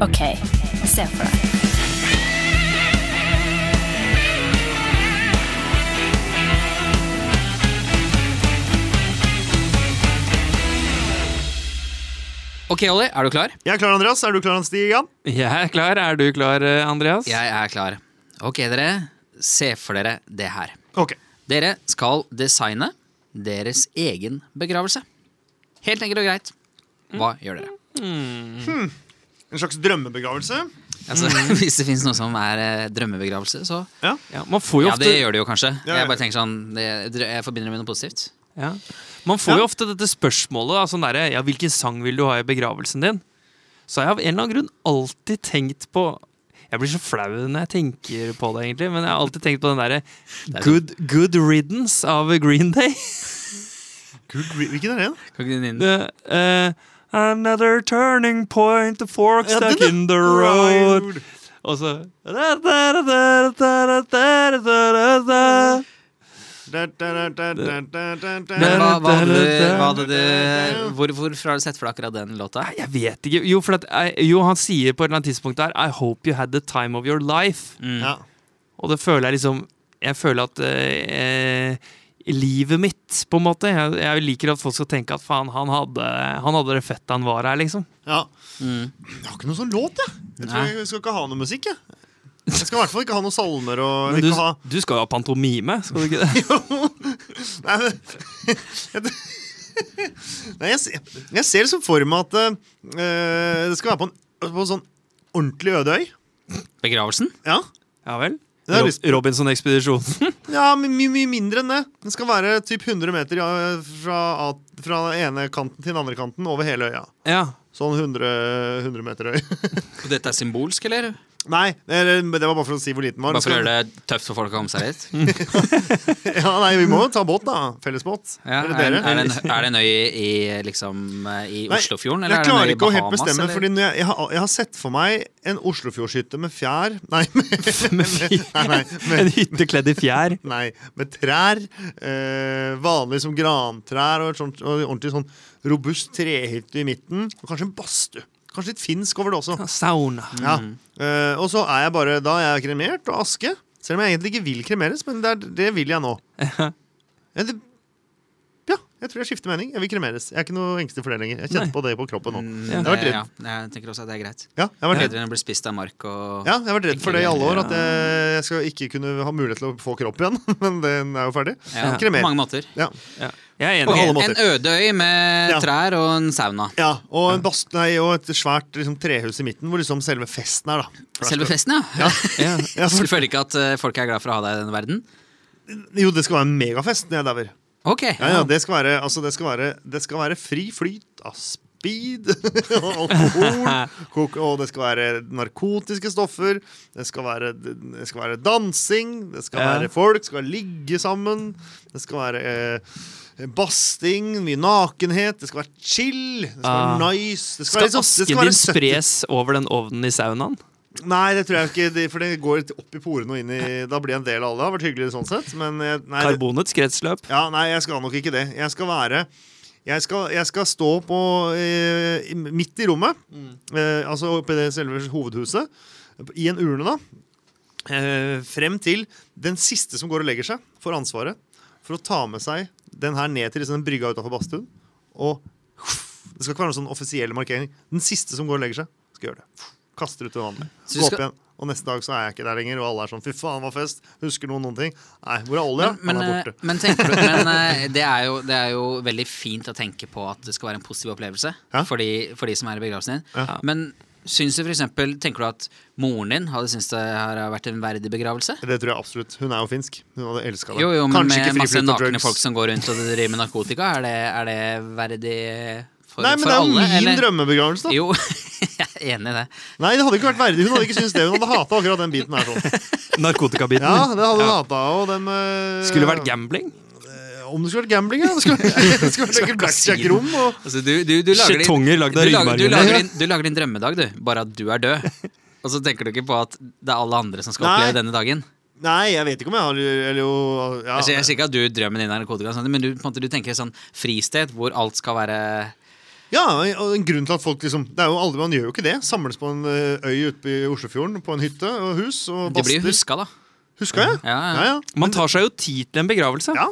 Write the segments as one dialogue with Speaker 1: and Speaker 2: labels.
Speaker 1: OK, se for deg.
Speaker 2: Ok, Olli, er du klar?
Speaker 3: Jeg er klar, Andreas. Er du klar, Stigan?
Speaker 4: Jeg er klar. Er du klar, eh, Andreas?
Speaker 2: Jeg er klar. Ok, dere. Se for dere det her.
Speaker 3: Ok.
Speaker 2: Dere skal designe deres egen begravelse. Helt enkelt og greit. Hva gjør dere?
Speaker 3: En slags drømmebegravelse.
Speaker 2: Altså, hvis det fins noe som er eh, drømmebegravelse, så
Speaker 3: Ja.
Speaker 4: Ja, man får jo
Speaker 2: Ja,
Speaker 4: ofte,
Speaker 2: det gjør det jo kanskje.
Speaker 3: Ja, ja.
Speaker 2: Jeg bare tenker sånn det, Jeg forbinder det med noe positivt.
Speaker 4: ja. Man får
Speaker 3: Ja.
Speaker 4: jo ofte dette spørsmålet. da, sånn derre, ja, 'Hvilken sang vil du ha i begravelsen din?' Så har jeg av en eller annen grunn alltid tenkt på Jeg blir så flau når jeg tenker på det, egentlig, men jeg har alltid tenkt på den derre good, 'Good Riddance' av Green Day.
Speaker 3: Good, re- hvilken er det?
Speaker 2: Kan ikke du nynne?
Speaker 4: Det, eh, Another turning point, the fork
Speaker 3: Ja, den,
Speaker 4: stuck
Speaker 3: ja.
Speaker 4: in the road. Og så
Speaker 3: Da, da, da, da, da, da, da.
Speaker 2: Men hva, hva hadde du, hva hadde du
Speaker 3: da, da.
Speaker 2: hvor, Hvorfor har du sett for deg akkurat den låta?
Speaker 4: Nei, Jeg vet ikke. Jo, for at, jeg- jo, han sier på et eller annet tidspunkt der I hope you had the time of your life.
Speaker 2: Mm.
Speaker 3: Ja.
Speaker 4: Og det føler jeg liksom Jeg føler at eh, eh, Livet mitt, på en måte. Jeg, jeg liker at folk skal tenke at faen, han hadde, han hadde det fett da han var her, liksom.
Speaker 3: ja.
Speaker 2: Mm.
Speaker 3: Jeg har ikke noen sånn låt, jeg. Jeg tror
Speaker 2: Nei.
Speaker 3: jeg skal ikke ha noe musikk, jeg. Jeg skal i hvert fall ikke ha noen salmer og jeg
Speaker 4: Men
Speaker 3: vil
Speaker 4: du,
Speaker 3: ikke ha
Speaker 4: du skal jo ha pantomime, skal du ikke det?
Speaker 3: Nei, men, jeg, Nei, jeg, ser- jeg ser liksom for meg at eh, det skal være på en, på en sånn ordentlig øde øy.
Speaker 2: Begravelsen?
Speaker 3: Ja,
Speaker 4: Ja vel?
Speaker 3: det har jeg lyst
Speaker 4: Rob Robinson-ekspedisjonen.
Speaker 3: Ja, men mye mye mindre enn det. Den skal være typ 100 meter ja, fra, A- fra den ene kanten til den andre kanten over hele øya.
Speaker 4: ja.
Speaker 3: Sånn 100, 100 meter øy.
Speaker 2: Og dette er symbolsk, eller?
Speaker 3: Nei, det, det var bare for å si hvor liten den var.
Speaker 2: Bare for å gjøre det tøft for folk å komme seg hit?
Speaker 3: Ja, nei, Vi må jo ta båt, da. Fellesbåt.
Speaker 2: Ja, er, er,
Speaker 3: Eller dere.
Speaker 2: det en, er det en øy i, liksom, eh, i
Speaker 3: Nei,
Speaker 2: Oslofjorden? Eller
Speaker 3: Jeg
Speaker 2: er det en
Speaker 3: klarer
Speaker 2: øy i
Speaker 3: ikke å helt
Speaker 2: Bahamas,
Speaker 3: bestemme,
Speaker 2: eller?
Speaker 3: fordi når jeg, jeg, har, jeg har sett for meg en Oslofjordshytte med fjær Nei, med,
Speaker 4: Med fi-
Speaker 3: nei, nei,
Speaker 4: En
Speaker 3: med,
Speaker 4: hytte kledd i fjær.
Speaker 3: nei, med trær. Eh, vanlig som grantrær og, et sånt, og en ordentlig sånn robust trehytte i midten. Og kanskje en badstue. Kanskje litt finsk over det også.
Speaker 4: Sauna.
Speaker 2: Mm.
Speaker 3: Ja. Eh, og så er jeg bare Da er jeg kremert og aske. Selv om jeg egentlig ikke vil kremeres, men det, er, det vil jeg nå. Ja, det, ja, jeg tror jeg skifter mening. Jeg vil kremeres. Jeg er ikke noe engstelig for det lenger. Jeg kjenner
Speaker 4: Nei.
Speaker 3: på det på kroppen nå.
Speaker 2: Mm,
Speaker 4: Ja.
Speaker 3: Jeg har vært
Speaker 2: det-
Speaker 3: redd.
Speaker 2: ja, jeg tenker også at det er greit.
Speaker 3: Ja, jeg har vært redd.
Speaker 2: Bedre enn å bli spist av mark og
Speaker 3: Ja, jeg har vært redd for det i alle år, at jeg, jeg skal ikke kunne ha mulighet til å få kropp igjen. Men den er jo ferdig.
Speaker 2: Ja, På
Speaker 3: Kremer.
Speaker 2: mange måter.
Speaker 3: Ja,
Speaker 4: Ja. Jeg er
Speaker 2: Ok,
Speaker 4: enig.
Speaker 3: alle måter.
Speaker 2: En øde øy med
Speaker 3: Ja.
Speaker 2: trær og en sauna.
Speaker 3: ja Og, en bast, nei, og et svært liksom, trehus i midten, hvor liksom selve festen er, da. For
Speaker 2: Selve
Speaker 3: det
Speaker 2: festen, ja.
Speaker 4: Ja.
Speaker 3: skal- Ja,
Speaker 2: Du
Speaker 3: for,
Speaker 2: føler ikke at eh, folk er glad for å ha deg i denne verden?
Speaker 3: jo, det skal være en megafest når jeg dauer.
Speaker 2: Ok.
Speaker 3: Ja, ja, det skal være, altså, det skal være, det skal være fri flyt av speed og alkohol. kok- Og det skal være narkotiske stoffer. Det skal være, det skal være dansing. Det skal
Speaker 4: Ja.
Speaker 3: være folk. Det skal ligge sammen. Det skal være eh, basting. Mye nakenhet. Det skal være chill. Det skal
Speaker 4: Ah.
Speaker 3: være nice. Det skal,
Speaker 4: Skal
Speaker 3: være sånn- det
Speaker 4: asken
Speaker 3: skal
Speaker 4: din
Speaker 3: være 70
Speaker 4: spres over den ovnen i saunaen?
Speaker 3: Nei, det tror jeg ikke, det- for det går litt opp i porene og inn i Da blir jeg en del av alle. Det har vært hyggelig sånn sett. Men eh, nei, det,
Speaker 4: Karbonets kretsløp?
Speaker 3: ja, nei, jeg skal nok ikke det. Jeg skal være Jeg skal, jeg skal stå på eh, i- midt i rommet,
Speaker 2: Mm.
Speaker 3: eh, altså oppe i det selve hovedhuset, i en urne, da. Eh, frem til den siste som går og legger seg, får ansvaret for å ta med seg den her ned til liksom, den brygga utafor badstuen. Og det skal ikke være noen sånn offisiell markering. Den siste som går og legger seg, skal gjøre det. Kaster ut det vannet.
Speaker 2: Så du
Speaker 3: Gå opp
Speaker 2: skal-
Speaker 3: igjen. Og neste dag så er jeg ikke der lenger, og alle er sånn 'fy faen, hva fest'. Husker noen noen ting? Nei, hvor er Ollie?
Speaker 2: Men,
Speaker 3: Han er
Speaker 2: eh,
Speaker 3: borte.
Speaker 2: men, tenker du, men eh, det, er jo, det er jo veldig fint å tenke på at det skal være en positiv opplevelse
Speaker 3: Ja.
Speaker 2: for, de, for de som er i begravelsen din.
Speaker 3: Ja.
Speaker 2: Men syns du for eksempel, tenker du at moren din hadde syntes det her har vært en verdig begravelse?
Speaker 3: Det tror jeg absolutt. Hun er jo finsk. Hun hadde elska det.
Speaker 2: Jo, jo, men med masse
Speaker 3: friflyt og
Speaker 2: nakne
Speaker 3: drugs.
Speaker 2: folk som går rundt og driver med narkotika, er det, er det verdig for,
Speaker 3: Nei, men
Speaker 2: for
Speaker 3: det er jo
Speaker 2: alle?
Speaker 3: min
Speaker 2: eller?
Speaker 3: drømmebegravelse, da.
Speaker 2: Jo, jeg er enig i det.
Speaker 3: Nei, det hadde ikke vært verdig. Hun hadde ikke syntes det. Hun hadde hata akkurat den biten her. sånn.
Speaker 4: Narkotikabiten?
Speaker 3: Ja, det hadde hun hata. Og dem eh,
Speaker 4: Skulle vært gambling?
Speaker 3: Om det skulle vært gambling, ja. Det skulle, det skulle vært enkelt blackjack-rom. Og...
Speaker 2: Altså, du, du, du lager din-
Speaker 4: Skjetonger lagd av
Speaker 2: du lager- du
Speaker 4: ryggmargen.
Speaker 2: lager din- Du lager din drømmedag, du. Bare at du er død. Og så tenker du ikke på at det er alle andre som skal
Speaker 3: Nei.
Speaker 2: oppleve denne dagen.
Speaker 3: Nei, jeg vet ikke om jeg har Eller jo ja.
Speaker 2: Altså, sånn jeg sier ikke at du drømmen din er narkotika, og sånt, men du, på en måte, du tenker sånn fristed hvor alt skal være
Speaker 3: Ja, og en grunn til at folk liksom Det er jo aldri, Man gjør jo ikke det. Samles på en ø, øy ute i Oslofjorden, på en hytte og hus. og
Speaker 2: Det blir jo
Speaker 3: baster.
Speaker 2: huska, da.
Speaker 3: Huska jeg?
Speaker 2: Ja, ja.
Speaker 3: ja, ja.
Speaker 4: Man tar seg jo tid til en begravelse.
Speaker 3: Ja,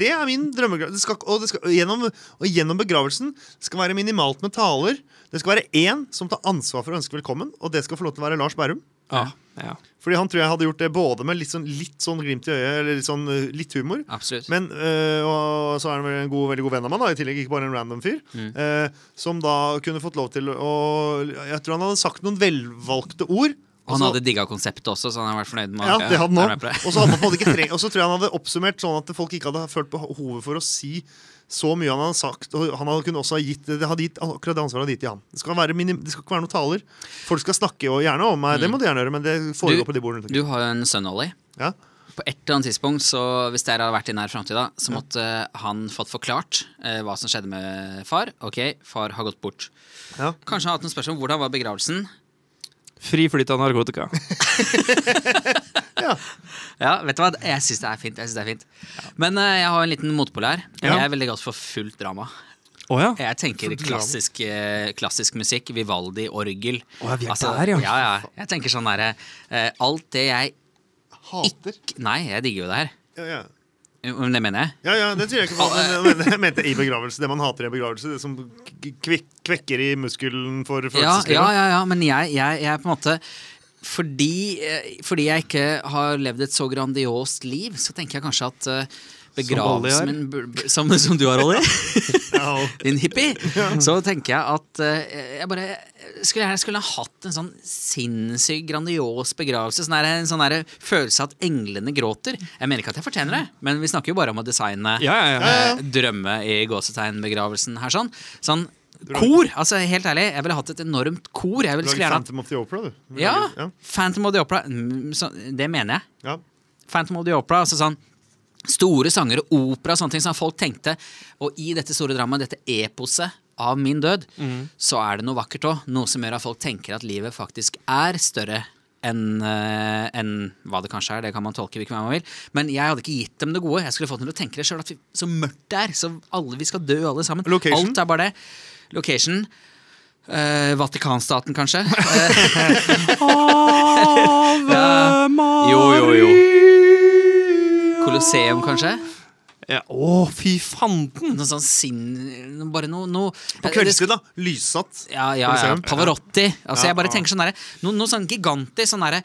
Speaker 3: det er min drømmegravelse. Det skal, og, det skal, og, gjennom, og gjennom begravelsen det skal være minimalt med taler. Det skal være én som tar ansvar for å ønske velkommen, og det skal få lov til å være Lars Berrum.
Speaker 4: Ja, ja.
Speaker 3: Fordi han tror jeg hadde gjort det både med litt sånn, litt sånn glimt i øyet, eller litt, sånn, eh, litt humor.
Speaker 2: Absolutt.
Speaker 3: Men, øh, og så er han vel en god, veldig god venn av meg, da, i tillegg ikke bare en random fyr.
Speaker 2: Mm.
Speaker 3: eh, som da kunne fått lov til å Jeg tror han hadde sagt noen velvalgte ord.
Speaker 2: Og han
Speaker 3: altså-
Speaker 2: hadde digga konseptet også, så han har vært fornøyd med
Speaker 3: ja, det hadde han
Speaker 2: er med
Speaker 3: også.
Speaker 2: på det.
Speaker 3: Og så hadde han på en måte ikke treng- og så tror jeg han hadde oppsummert sånn at folk ikke hadde følt behovet for å si så mye han hadde sagt. Og han hadde kunne også ha gitt det hadde gitt akkurat det ansvaret hadde gitt til han. Det skal, være minim, det skal ikke være noen taler. Folk skal snakke og gjerne om meg. Det må de gjerne gjøre, men det
Speaker 2: Mm. Du-
Speaker 3: foregår på de bordene. rundt omkring.
Speaker 2: Du har jo en sønn, Ollie.
Speaker 3: Ja.
Speaker 2: På et eller annet tidspunkt, så hvis dere hadde vært i nær framtid, da, så måtte eh, han fått forklart eh, hva som skjedde med far. Ok, far har gått bort.
Speaker 3: Ja.
Speaker 2: Kanskje han har hatt noen spørsmål om hvordan var begravelsen.
Speaker 4: Fri flyt av narkotika.
Speaker 2: Ja, vet du hva? Jeg syns det er fint. jeg synes det er fint. Men eh, jeg har en liten motpol her.
Speaker 4: Ja.
Speaker 2: Jeg er veldig godt for fullt drama.
Speaker 4: Å ja.
Speaker 2: Jeg tenker klassisk, eh, klassisk musikk, Vivaldi, orgel. Altså,
Speaker 4: Å, ja, vi er der, ja.
Speaker 2: ja, ja. Jeg tenker sånn derre eh, Alt det jeg
Speaker 3: Hater.
Speaker 2: Nei, jeg digger jo det her.
Speaker 3: Ja, ja.
Speaker 2: Jo, Men det mener jeg.
Speaker 3: Ja, ja, det tviler jeg ikke på. Men, men jeg mente i begravelse. Det man hater i begravelse. Det som k- kvek, kvekker i muskelen for
Speaker 2: Ja,
Speaker 3: følelseslivet.
Speaker 2: ja, ja, ja, men jeg, jeg, jeg er på en måte fordi, eh, fordi jeg ikke har levd et så grandiost liv, så tenker jeg kanskje at eh,
Speaker 4: Ollie har.
Speaker 2: begravelsen min bur- bur- som, som du har, Ollie,
Speaker 3: Ja,
Speaker 2: din hippie, så tenker jeg at eh, jeg bare skulle gjerne skulle ha hatt en sånn sinnssykt grandios begravelse. Sånn der, en sånn der følelse at englene gråter. Jeg mener ikke at jeg fortjener det, men vi snakker jo bare om å designe
Speaker 4: Ja, ja, ja.
Speaker 3: ja.
Speaker 2: eh, drømme i gåsetegnbegravelsen her sånn. Sånn kor! Altså helt ærlig, jeg ville hatt et enormt kor. Jeg ville
Speaker 3: Du lager
Speaker 2: skulle gjerne hatt
Speaker 3: Phantom of the Opera, du. Du
Speaker 2: ja,
Speaker 3: lager-
Speaker 2: Phantom of the Opera. mm, Så, det mener jeg.
Speaker 3: ja.
Speaker 2: Phantom of the Opera, altså sånn store sanger og opera og sånne ting som folk tenkte. Og i dette store dramaet, dette eposet av min død,
Speaker 3: Mhm.
Speaker 2: så er det noe vakkert òg. Noe som gjør at folk tenker at livet faktisk er større enn eh, enn hva det kanskje er. Det kan man tolke hvilken vei man vil. Men jeg hadde ikke gitt dem det gode. Jeg skulle fått dem til å tenke det sjøl. Så mørkt det er. Så alle, vi skal dø, alle sammen.
Speaker 3: Location?
Speaker 2: Alt er bare det. Location. eh, Vatikanstaten, kanskje. Eh,
Speaker 4: Ave Maria
Speaker 2: Jo, jo, jo. Colosseum, kanskje.
Speaker 4: Ja. Å, fy fanden!
Speaker 2: Noe sånn sinn Bare noe, noe
Speaker 3: På kveldstid, da. Lyssatt.
Speaker 2: Ja, ja, ja.
Speaker 3: Colosseum.
Speaker 2: Pavarotti. Altså,
Speaker 3: Ja,
Speaker 2: jeg bare
Speaker 3: ja.
Speaker 2: tenker sånn derre Noe, noe sånn gigantisk. Sånn derre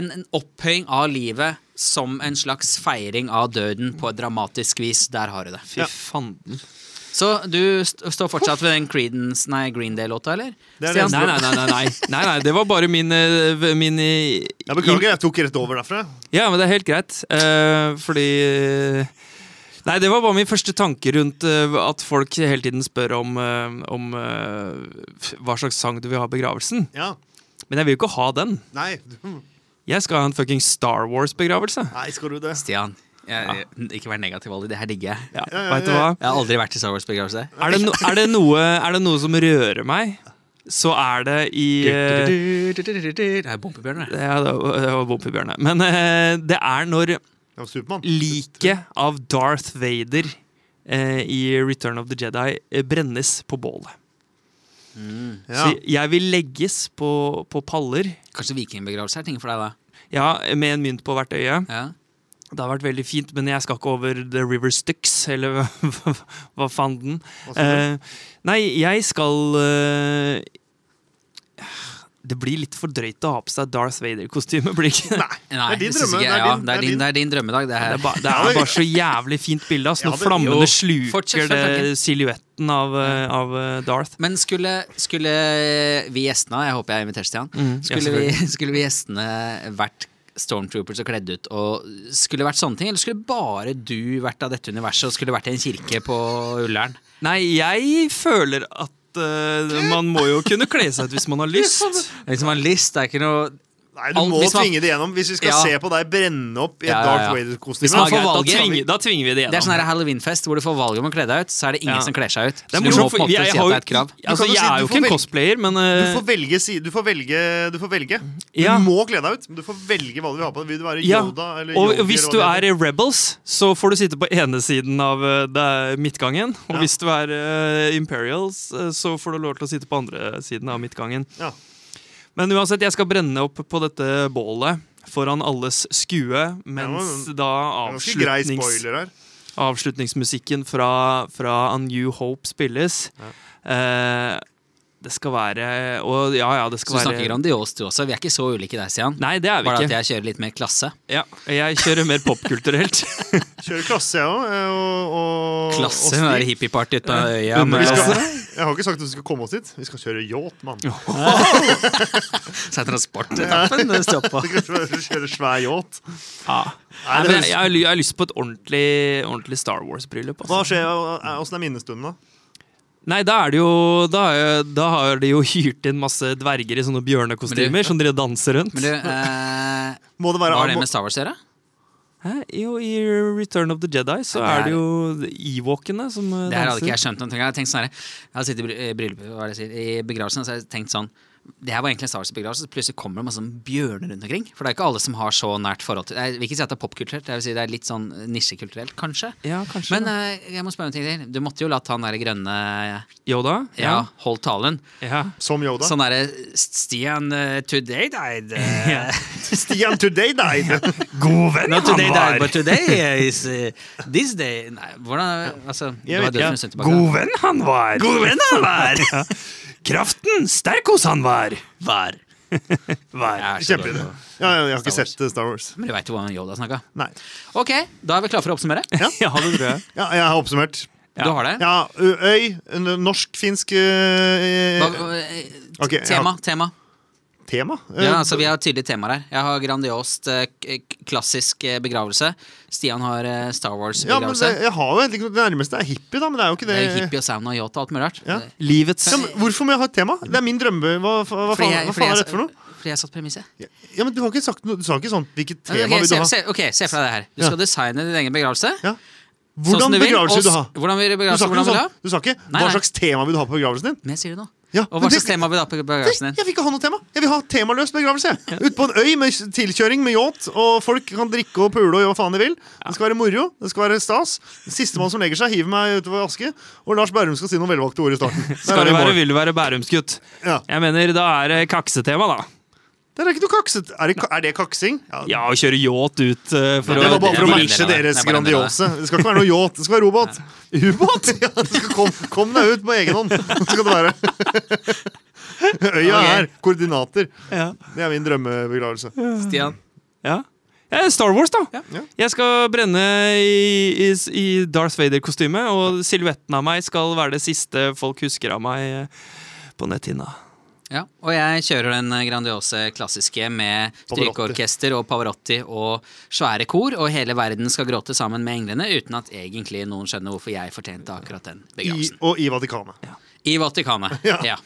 Speaker 2: en, en opphøying av livet som en slags feiring av døden på et dramatisk vis. Der har du det.
Speaker 4: Fy fanden.
Speaker 2: Så du st står fortsatt ved den Creedence, nei, Green Day-låta, eller?
Speaker 3: Det er
Speaker 2: Stian?
Speaker 3: det
Speaker 4: Nei, nei, nei, nei, nei. nei, nei det var bare min, eh, v- min eh,
Speaker 3: Jeg beklager, jeg tok rett over derfra.
Speaker 4: Ja, men det er helt greit. eh, fordi eh, Nei, det var bare min første tanke rundt eh, at folk hele tiden spør om, eh, om eh, f- hva slags sang du vil ha i begravelsen.
Speaker 3: Ja,
Speaker 4: Men jeg vil jo ikke ha den.
Speaker 3: nei, du-
Speaker 4: Jeg skal ha en fucking Star Wars-begravelse.
Speaker 3: nei, skal du det?
Speaker 2: Stian. Jeg, Ikke vær negativ, Olli. Det her digger jeg.
Speaker 4: Ja,
Speaker 3: ja,
Speaker 4: vet du
Speaker 3: ja.
Speaker 4: hva?
Speaker 2: Jeg har aldri vært i Star Wars-begravelse.
Speaker 4: Er det, no, er, det noe, er det noe som rører meg, så er det i eh,
Speaker 2: Det er Bompebjørn, det.
Speaker 4: Ja, det var det var Bompi Bjørne. Men eh, det er når
Speaker 3: Ja, Supermann.
Speaker 4: liket av Darth Vader eh, i Return of the Jedi eh, brennes på bålet.
Speaker 3: Ja.
Speaker 4: Så jeg vil legges på, på paller,
Speaker 2: Kanskje vikingbegravelse er ting for deg, da?
Speaker 4: ja, med en mynt på hvert øye.
Speaker 2: Ja.
Speaker 4: Det har vært veldig fint, men jeg skal ikke over The River Styx, eller hva- hva fanden.
Speaker 3: Hva skal
Speaker 4: Eh, nei, jeg skal eh, Det blir litt for drøyt å ha på seg Darth Vader-kostyme, blir det ikke?
Speaker 3: Nei,
Speaker 2: Nei,
Speaker 3: det er din
Speaker 2: jeg synes
Speaker 3: drømme.
Speaker 2: ikke-
Speaker 3: det er
Speaker 2: ja,
Speaker 3: din-
Speaker 2: det er din- det er din drømmedag, det
Speaker 4: Det
Speaker 2: her.
Speaker 4: er, ba, det er bare så jævlig fint bilde. ass.
Speaker 3: Ja,
Speaker 4: Når
Speaker 3: det-
Speaker 4: flammene
Speaker 2: jo.
Speaker 4: sluker
Speaker 2: Fortsett,
Speaker 4: det
Speaker 2: Franken.
Speaker 4: silhuetten av, eh, av eh, Darth.
Speaker 2: Men skulle, skulle vi gjestene Jeg håper jeg inviterer Stian.
Speaker 4: Mm, ja,
Speaker 2: Skulle, vi, skulle vi gjestene vært stormtroopers og kledd ut? Og skulle det vært sånne ting, Eller skulle bare du vært av dette universet og skulle vært i en kirke på Ullern?
Speaker 4: Nei, jeg føler at eh, man må jo kunne kle seg ut hvis man har lyst.
Speaker 2: Liksom en list, det er ikke noe
Speaker 3: Nei, du
Speaker 2: Alt-
Speaker 3: må
Speaker 2: hvis man-
Speaker 3: tvinge det gjennom hvis vi skal
Speaker 2: Ja.
Speaker 3: se på deg brenne opp i et
Speaker 2: Ja, ja, ja.
Speaker 3: Darth
Speaker 2: Hvis man
Speaker 4: Men
Speaker 3: Vader-kostyme.
Speaker 2: får
Speaker 4: greit, da,
Speaker 2: valget-
Speaker 4: tvinger, da tvinger vi det
Speaker 2: Det er sånn
Speaker 4: gjennom.
Speaker 2: her halloweenfest hvor du får valget om å kle deg ut, så er det ingen
Speaker 4: Ja.
Speaker 2: som kler seg ut.
Speaker 4: Det
Speaker 2: Så du
Speaker 4: er
Speaker 2: må på
Speaker 4: morsomt, for
Speaker 2: en måte
Speaker 4: jeg,
Speaker 2: si at
Speaker 4: har
Speaker 2: det
Speaker 4: jo-
Speaker 2: er et krav.
Speaker 3: Du kan
Speaker 4: Altså,
Speaker 3: jo
Speaker 4: jeg
Speaker 3: si-
Speaker 4: er jo
Speaker 3: du får
Speaker 4: ikke en
Speaker 3: velge-
Speaker 4: cosplayer, men
Speaker 3: Du
Speaker 4: eh,
Speaker 3: får velge si- Du får velge, du får velge. Du
Speaker 4: Ja.
Speaker 3: må kle deg ut. men Du får velge hva du vil ha på deg. Vil du være
Speaker 4: ja.
Speaker 3: Yoda eller
Speaker 4: Og
Speaker 3: Yogi,
Speaker 4: hvis
Speaker 3: eller
Speaker 4: du
Speaker 3: hva
Speaker 4: er
Speaker 3: det heter?
Speaker 4: Rebels, så får du sitte på ene siden av eh, det er midtgangen. Og
Speaker 3: Ja.
Speaker 4: hvis du er eh, Imperials, eh, så får du lov til å sitte på andre siden av midtgangen.
Speaker 3: ja.
Speaker 4: Men uansett, jeg skal brenne opp på dette bålet foran alles skue, mens
Speaker 3: Ja,
Speaker 4: da
Speaker 3: Ganske grei
Speaker 4: avslutnings,
Speaker 3: spoiler her.
Speaker 4: avslutningsmusikken fra, fra A New Hope spilles. Eh, det skal være Og ja, ja, det
Speaker 2: Så
Speaker 4: skal
Speaker 2: du
Speaker 4: være
Speaker 2: snakker grandiost, du også. Vi er ikke så ulike der, Stian.
Speaker 4: Nei, det er vi
Speaker 2: Bare at jeg
Speaker 4: ikke.
Speaker 2: kjører litt mer klasse.
Speaker 4: Ja, jeg kjører mer popkulturelt.
Speaker 3: Kjører klasse, jeg òg. Og, og,
Speaker 2: Klasse,
Speaker 3: og
Speaker 2: den der
Speaker 3: stil.
Speaker 2: hippieparty ute på øya. altså,
Speaker 4: Under
Speaker 2: Med,
Speaker 3: Vi skal,
Speaker 2: så
Speaker 3: jeg har ikke sagt at vi skal komme oss dit. Vi skal kjøre yacht, mann.
Speaker 2: er transportetappen det står på.
Speaker 3: Kjøre svær yacht.
Speaker 4: Ja.
Speaker 3: Nei,
Speaker 4: Nei,
Speaker 3: det
Speaker 4: men jeg,
Speaker 3: høres-
Speaker 4: jeg, har ly- jeg har lyst på et ordentlig, ordentlig Star Wars-bryllup.
Speaker 3: Hva
Speaker 4: Altså.
Speaker 3: skjer, Åssen er minnestunden, da?
Speaker 4: Nei, da er det jo Da, er, da har de jo hyrt inn masse dverger i sånne
Speaker 2: Men
Speaker 4: bjørnekostymer
Speaker 2: du-
Speaker 4: som dere danser rundt.
Speaker 2: Men du, eh,
Speaker 3: Må det
Speaker 2: hva
Speaker 3: være
Speaker 2: har det
Speaker 3: må-
Speaker 2: med Star Wars å gjøre?
Speaker 4: Hæ? Jo, I Return of the Jedi så
Speaker 2: Ja,
Speaker 4: er
Speaker 2: det
Speaker 4: det jo Ewokene som eh,
Speaker 2: Det her hadde
Speaker 4: danser.
Speaker 2: ikke jeg skjønt noen ting av. Jeg hadde tenkt sånn her Jeg hadde sittet i bry- eh, bryllup, hva er det jeg sier, i begravelsen, så hadde jeg tenkt sånn det her var egentlig en Star Wars-begravelse, så plutselig kommer det masse sånn bjørner rundt omkring. For det er ikke alle som har så nært forhold til Jeg vil ikke si at det er popkulturelt, jeg vil si det er litt sånn nisjekulturelt, kanskje.
Speaker 4: Ja, kanskje.
Speaker 2: Men eh, jeg må spørre om en ting til. Du måtte jo latt han der grønne ja,
Speaker 4: Yoda?
Speaker 2: holdt talen.
Speaker 4: ja.
Speaker 3: Som Yoda?
Speaker 2: Sånn derre Stian eh, Today died. eh,
Speaker 3: Stian today died!
Speaker 4: God venn
Speaker 2: Not today died, but today is eh, this day. Nei, hvordan Altså, det var
Speaker 3: Jeg vet ikke.
Speaker 2: døden som tilbake. da.
Speaker 4: venn han var! God venn han var! Kraften sterk hos han var! Var.
Speaker 2: Jeg er så
Speaker 3: Kjempeidé.
Speaker 2: dårlig på-
Speaker 3: Ja, ja, jeg
Speaker 2: Star
Speaker 3: har ikke
Speaker 2: Wars.
Speaker 3: sett eh, Star Wars.
Speaker 2: Men du veit jo hvordan Yoda snakka.
Speaker 3: Nei.
Speaker 2: Ok, da er vi klare for å oppsummere.
Speaker 4: Ja, det tror jeg.
Speaker 3: Ja, jeg har oppsummert.
Speaker 2: Du har det?
Speaker 3: Ja, ø- Øy. n- Norsk-finsk eh,
Speaker 2: Hva, eh,
Speaker 3: Ok, jeg
Speaker 2: tema.
Speaker 3: har-
Speaker 2: tema
Speaker 3: tema. Eh,
Speaker 2: ja, altså, Vi har tydelige temaer her. Jeg har grandiost, eh, k- k- klassisk eh, begravelse. Stian har eh, Star
Speaker 3: ja, men det,
Speaker 2: Wars-begravelse.
Speaker 3: jeg har jo egentlig ikke noe- Det nærmeste er hippie, da, men det er jo
Speaker 2: det
Speaker 3: ikke det.
Speaker 2: er hippie og sauna og yacht og alt mulig rart.
Speaker 3: Ja.
Speaker 4: Livets
Speaker 3: Ja, men hvorfor må jeg ha et tema? Det er min drømme. Hva, hva, hva, faen, hva faen er dette for noe?
Speaker 2: Fordi jeg satt premisset.
Speaker 3: Ja, men Du har ikke sagt noe, du sa ikke sånn hvilket
Speaker 2: Ok,
Speaker 3: tema vil du
Speaker 2: se,
Speaker 3: ha.
Speaker 2: se, ok, se for deg det her. Du
Speaker 3: Ja.
Speaker 2: skal designe din egen begravelse.
Speaker 3: Ja.
Speaker 2: sånn som
Speaker 3: Hvordan
Speaker 2: du vil,
Speaker 3: begravelse
Speaker 2: og
Speaker 3: vil du
Speaker 2: s-
Speaker 3: ha?
Speaker 2: Hvordan vil du
Speaker 3: Du sa
Speaker 2: begravelse?
Speaker 3: ikke,
Speaker 2: Hvordan
Speaker 3: noe
Speaker 2: vil du ha?
Speaker 3: sånn, du sa ikke
Speaker 2: Nei,
Speaker 3: hva
Speaker 2: nei.
Speaker 3: slags tema vil du ha på begravelsen din?
Speaker 2: Men jeg sier det nå.
Speaker 3: Ja,
Speaker 2: Og
Speaker 3: men
Speaker 2: hva
Speaker 3: det-
Speaker 2: slags tema vil du ha på begravelsen din?
Speaker 3: Jeg vil ikke ha noe tema! Jeg vil ha temaløs begravelse! Ute på en øy med s- tilkjøring med yacht, og folk kan drikke og pule og gjøre hva faen de vil. Det skal være moro, det skal være stas. Sistemann som legger seg, hiver meg utover aske. Og Lars Berrum skal si noen velvalgte ord i starten. Der
Speaker 4: Skal
Speaker 3: er vi i
Speaker 4: det være,
Speaker 3: mål.
Speaker 4: vil det være Bærumsgutt?
Speaker 3: Ja.
Speaker 4: Jeg mener, da er det kaksetema, da.
Speaker 3: Det er ikke noe kakset. Er det, ka- er det kaksing?
Speaker 4: Ja, å kjøre yacht ut eh, for
Speaker 2: Nei,
Speaker 3: Det
Speaker 4: å
Speaker 3: var bare for
Speaker 2: Det er bare en
Speaker 3: å
Speaker 2: del
Speaker 3: matche
Speaker 2: av det.
Speaker 3: deres
Speaker 2: Det er bare en del av det.
Speaker 3: grandiose. Det skal ikke være noe yacht, det skal være robot. Ubåt? Ja, det skal kom, kom deg ut på egen hånd, det skal det være. Øya
Speaker 2: Ok.
Speaker 3: er koordinater.
Speaker 4: ja.
Speaker 3: Det er min drømmebegravelse.
Speaker 2: Stian.
Speaker 4: Ja. Ja, Star Wars, da.
Speaker 3: Ja.
Speaker 4: Jeg skal brenne i, i, i Darth Vader-kostyme, og silhuetten av meg skal være det siste folk husker av meg eh, på netthinna.
Speaker 2: Ja, og jeg kjører den grandiose klassiske med
Speaker 3: Pavarotti.
Speaker 2: strykeorkester og Pavarotti og svære kor, og hele verden skal gråte sammen med englene, uten at egentlig noen skjønner hvorfor jeg fortjente akkurat den
Speaker 3: I,
Speaker 2: begravelsen.
Speaker 3: og i Vatikanet.
Speaker 2: I, Vatikanet.
Speaker 3: Ja.
Speaker 2: Ja.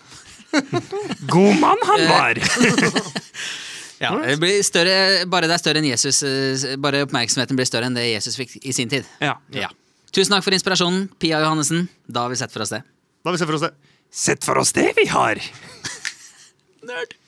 Speaker 4: God mann han var!
Speaker 2: ja. Det blir større, bare det er større enn Jesus, eh, bare oppmerksomheten blir større enn det Jesus fikk i sin tid.
Speaker 4: Ja.
Speaker 2: Ja. Tusen takk for inspirasjonen, Pia Johannessen. Da har vi sett for oss det.
Speaker 3: Da har vi sett for oss det.
Speaker 4: Sett for oss det vi har! Nerd.